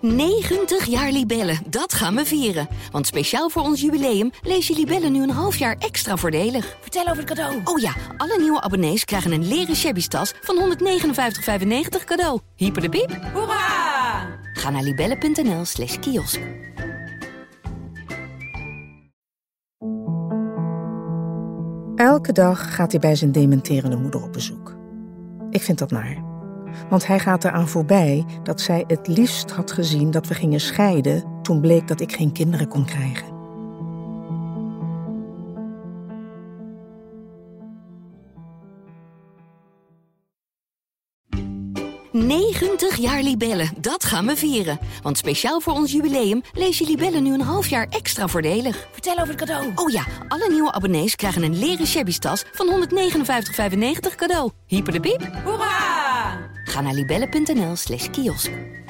90 jaar Libellen, dat gaan we vieren. Want speciaal voor ons jubileum lees je Libellen nu een half jaar extra voordelig. Vertel over het cadeau. Oh ja, alle nieuwe abonnees krijgen een leren shabby tas van 159,95 cadeau. Hyper de piep. Hoera! Ga naar libellen.nl slash kiosk. Elke dag gaat hij bij zijn dementerende moeder op bezoek. Ik vind dat naar. Want hij gaat eraan voorbij dat zij het liefst had gezien dat we gingen scheiden toen bleek dat ik geen kinderen kon krijgen. ...90 jaar Libellen, dat gaan we vieren. Want speciaal voor ons jubileum lees je Libellen nu een half jaar extra voordelig. Vertel over het cadeau. Oh ja, alle nieuwe abonnees krijgen een leren shabby tas van 159,95 cadeau. Hyper de piep. Hoera! Ga naar libellen.nl slash kiosk.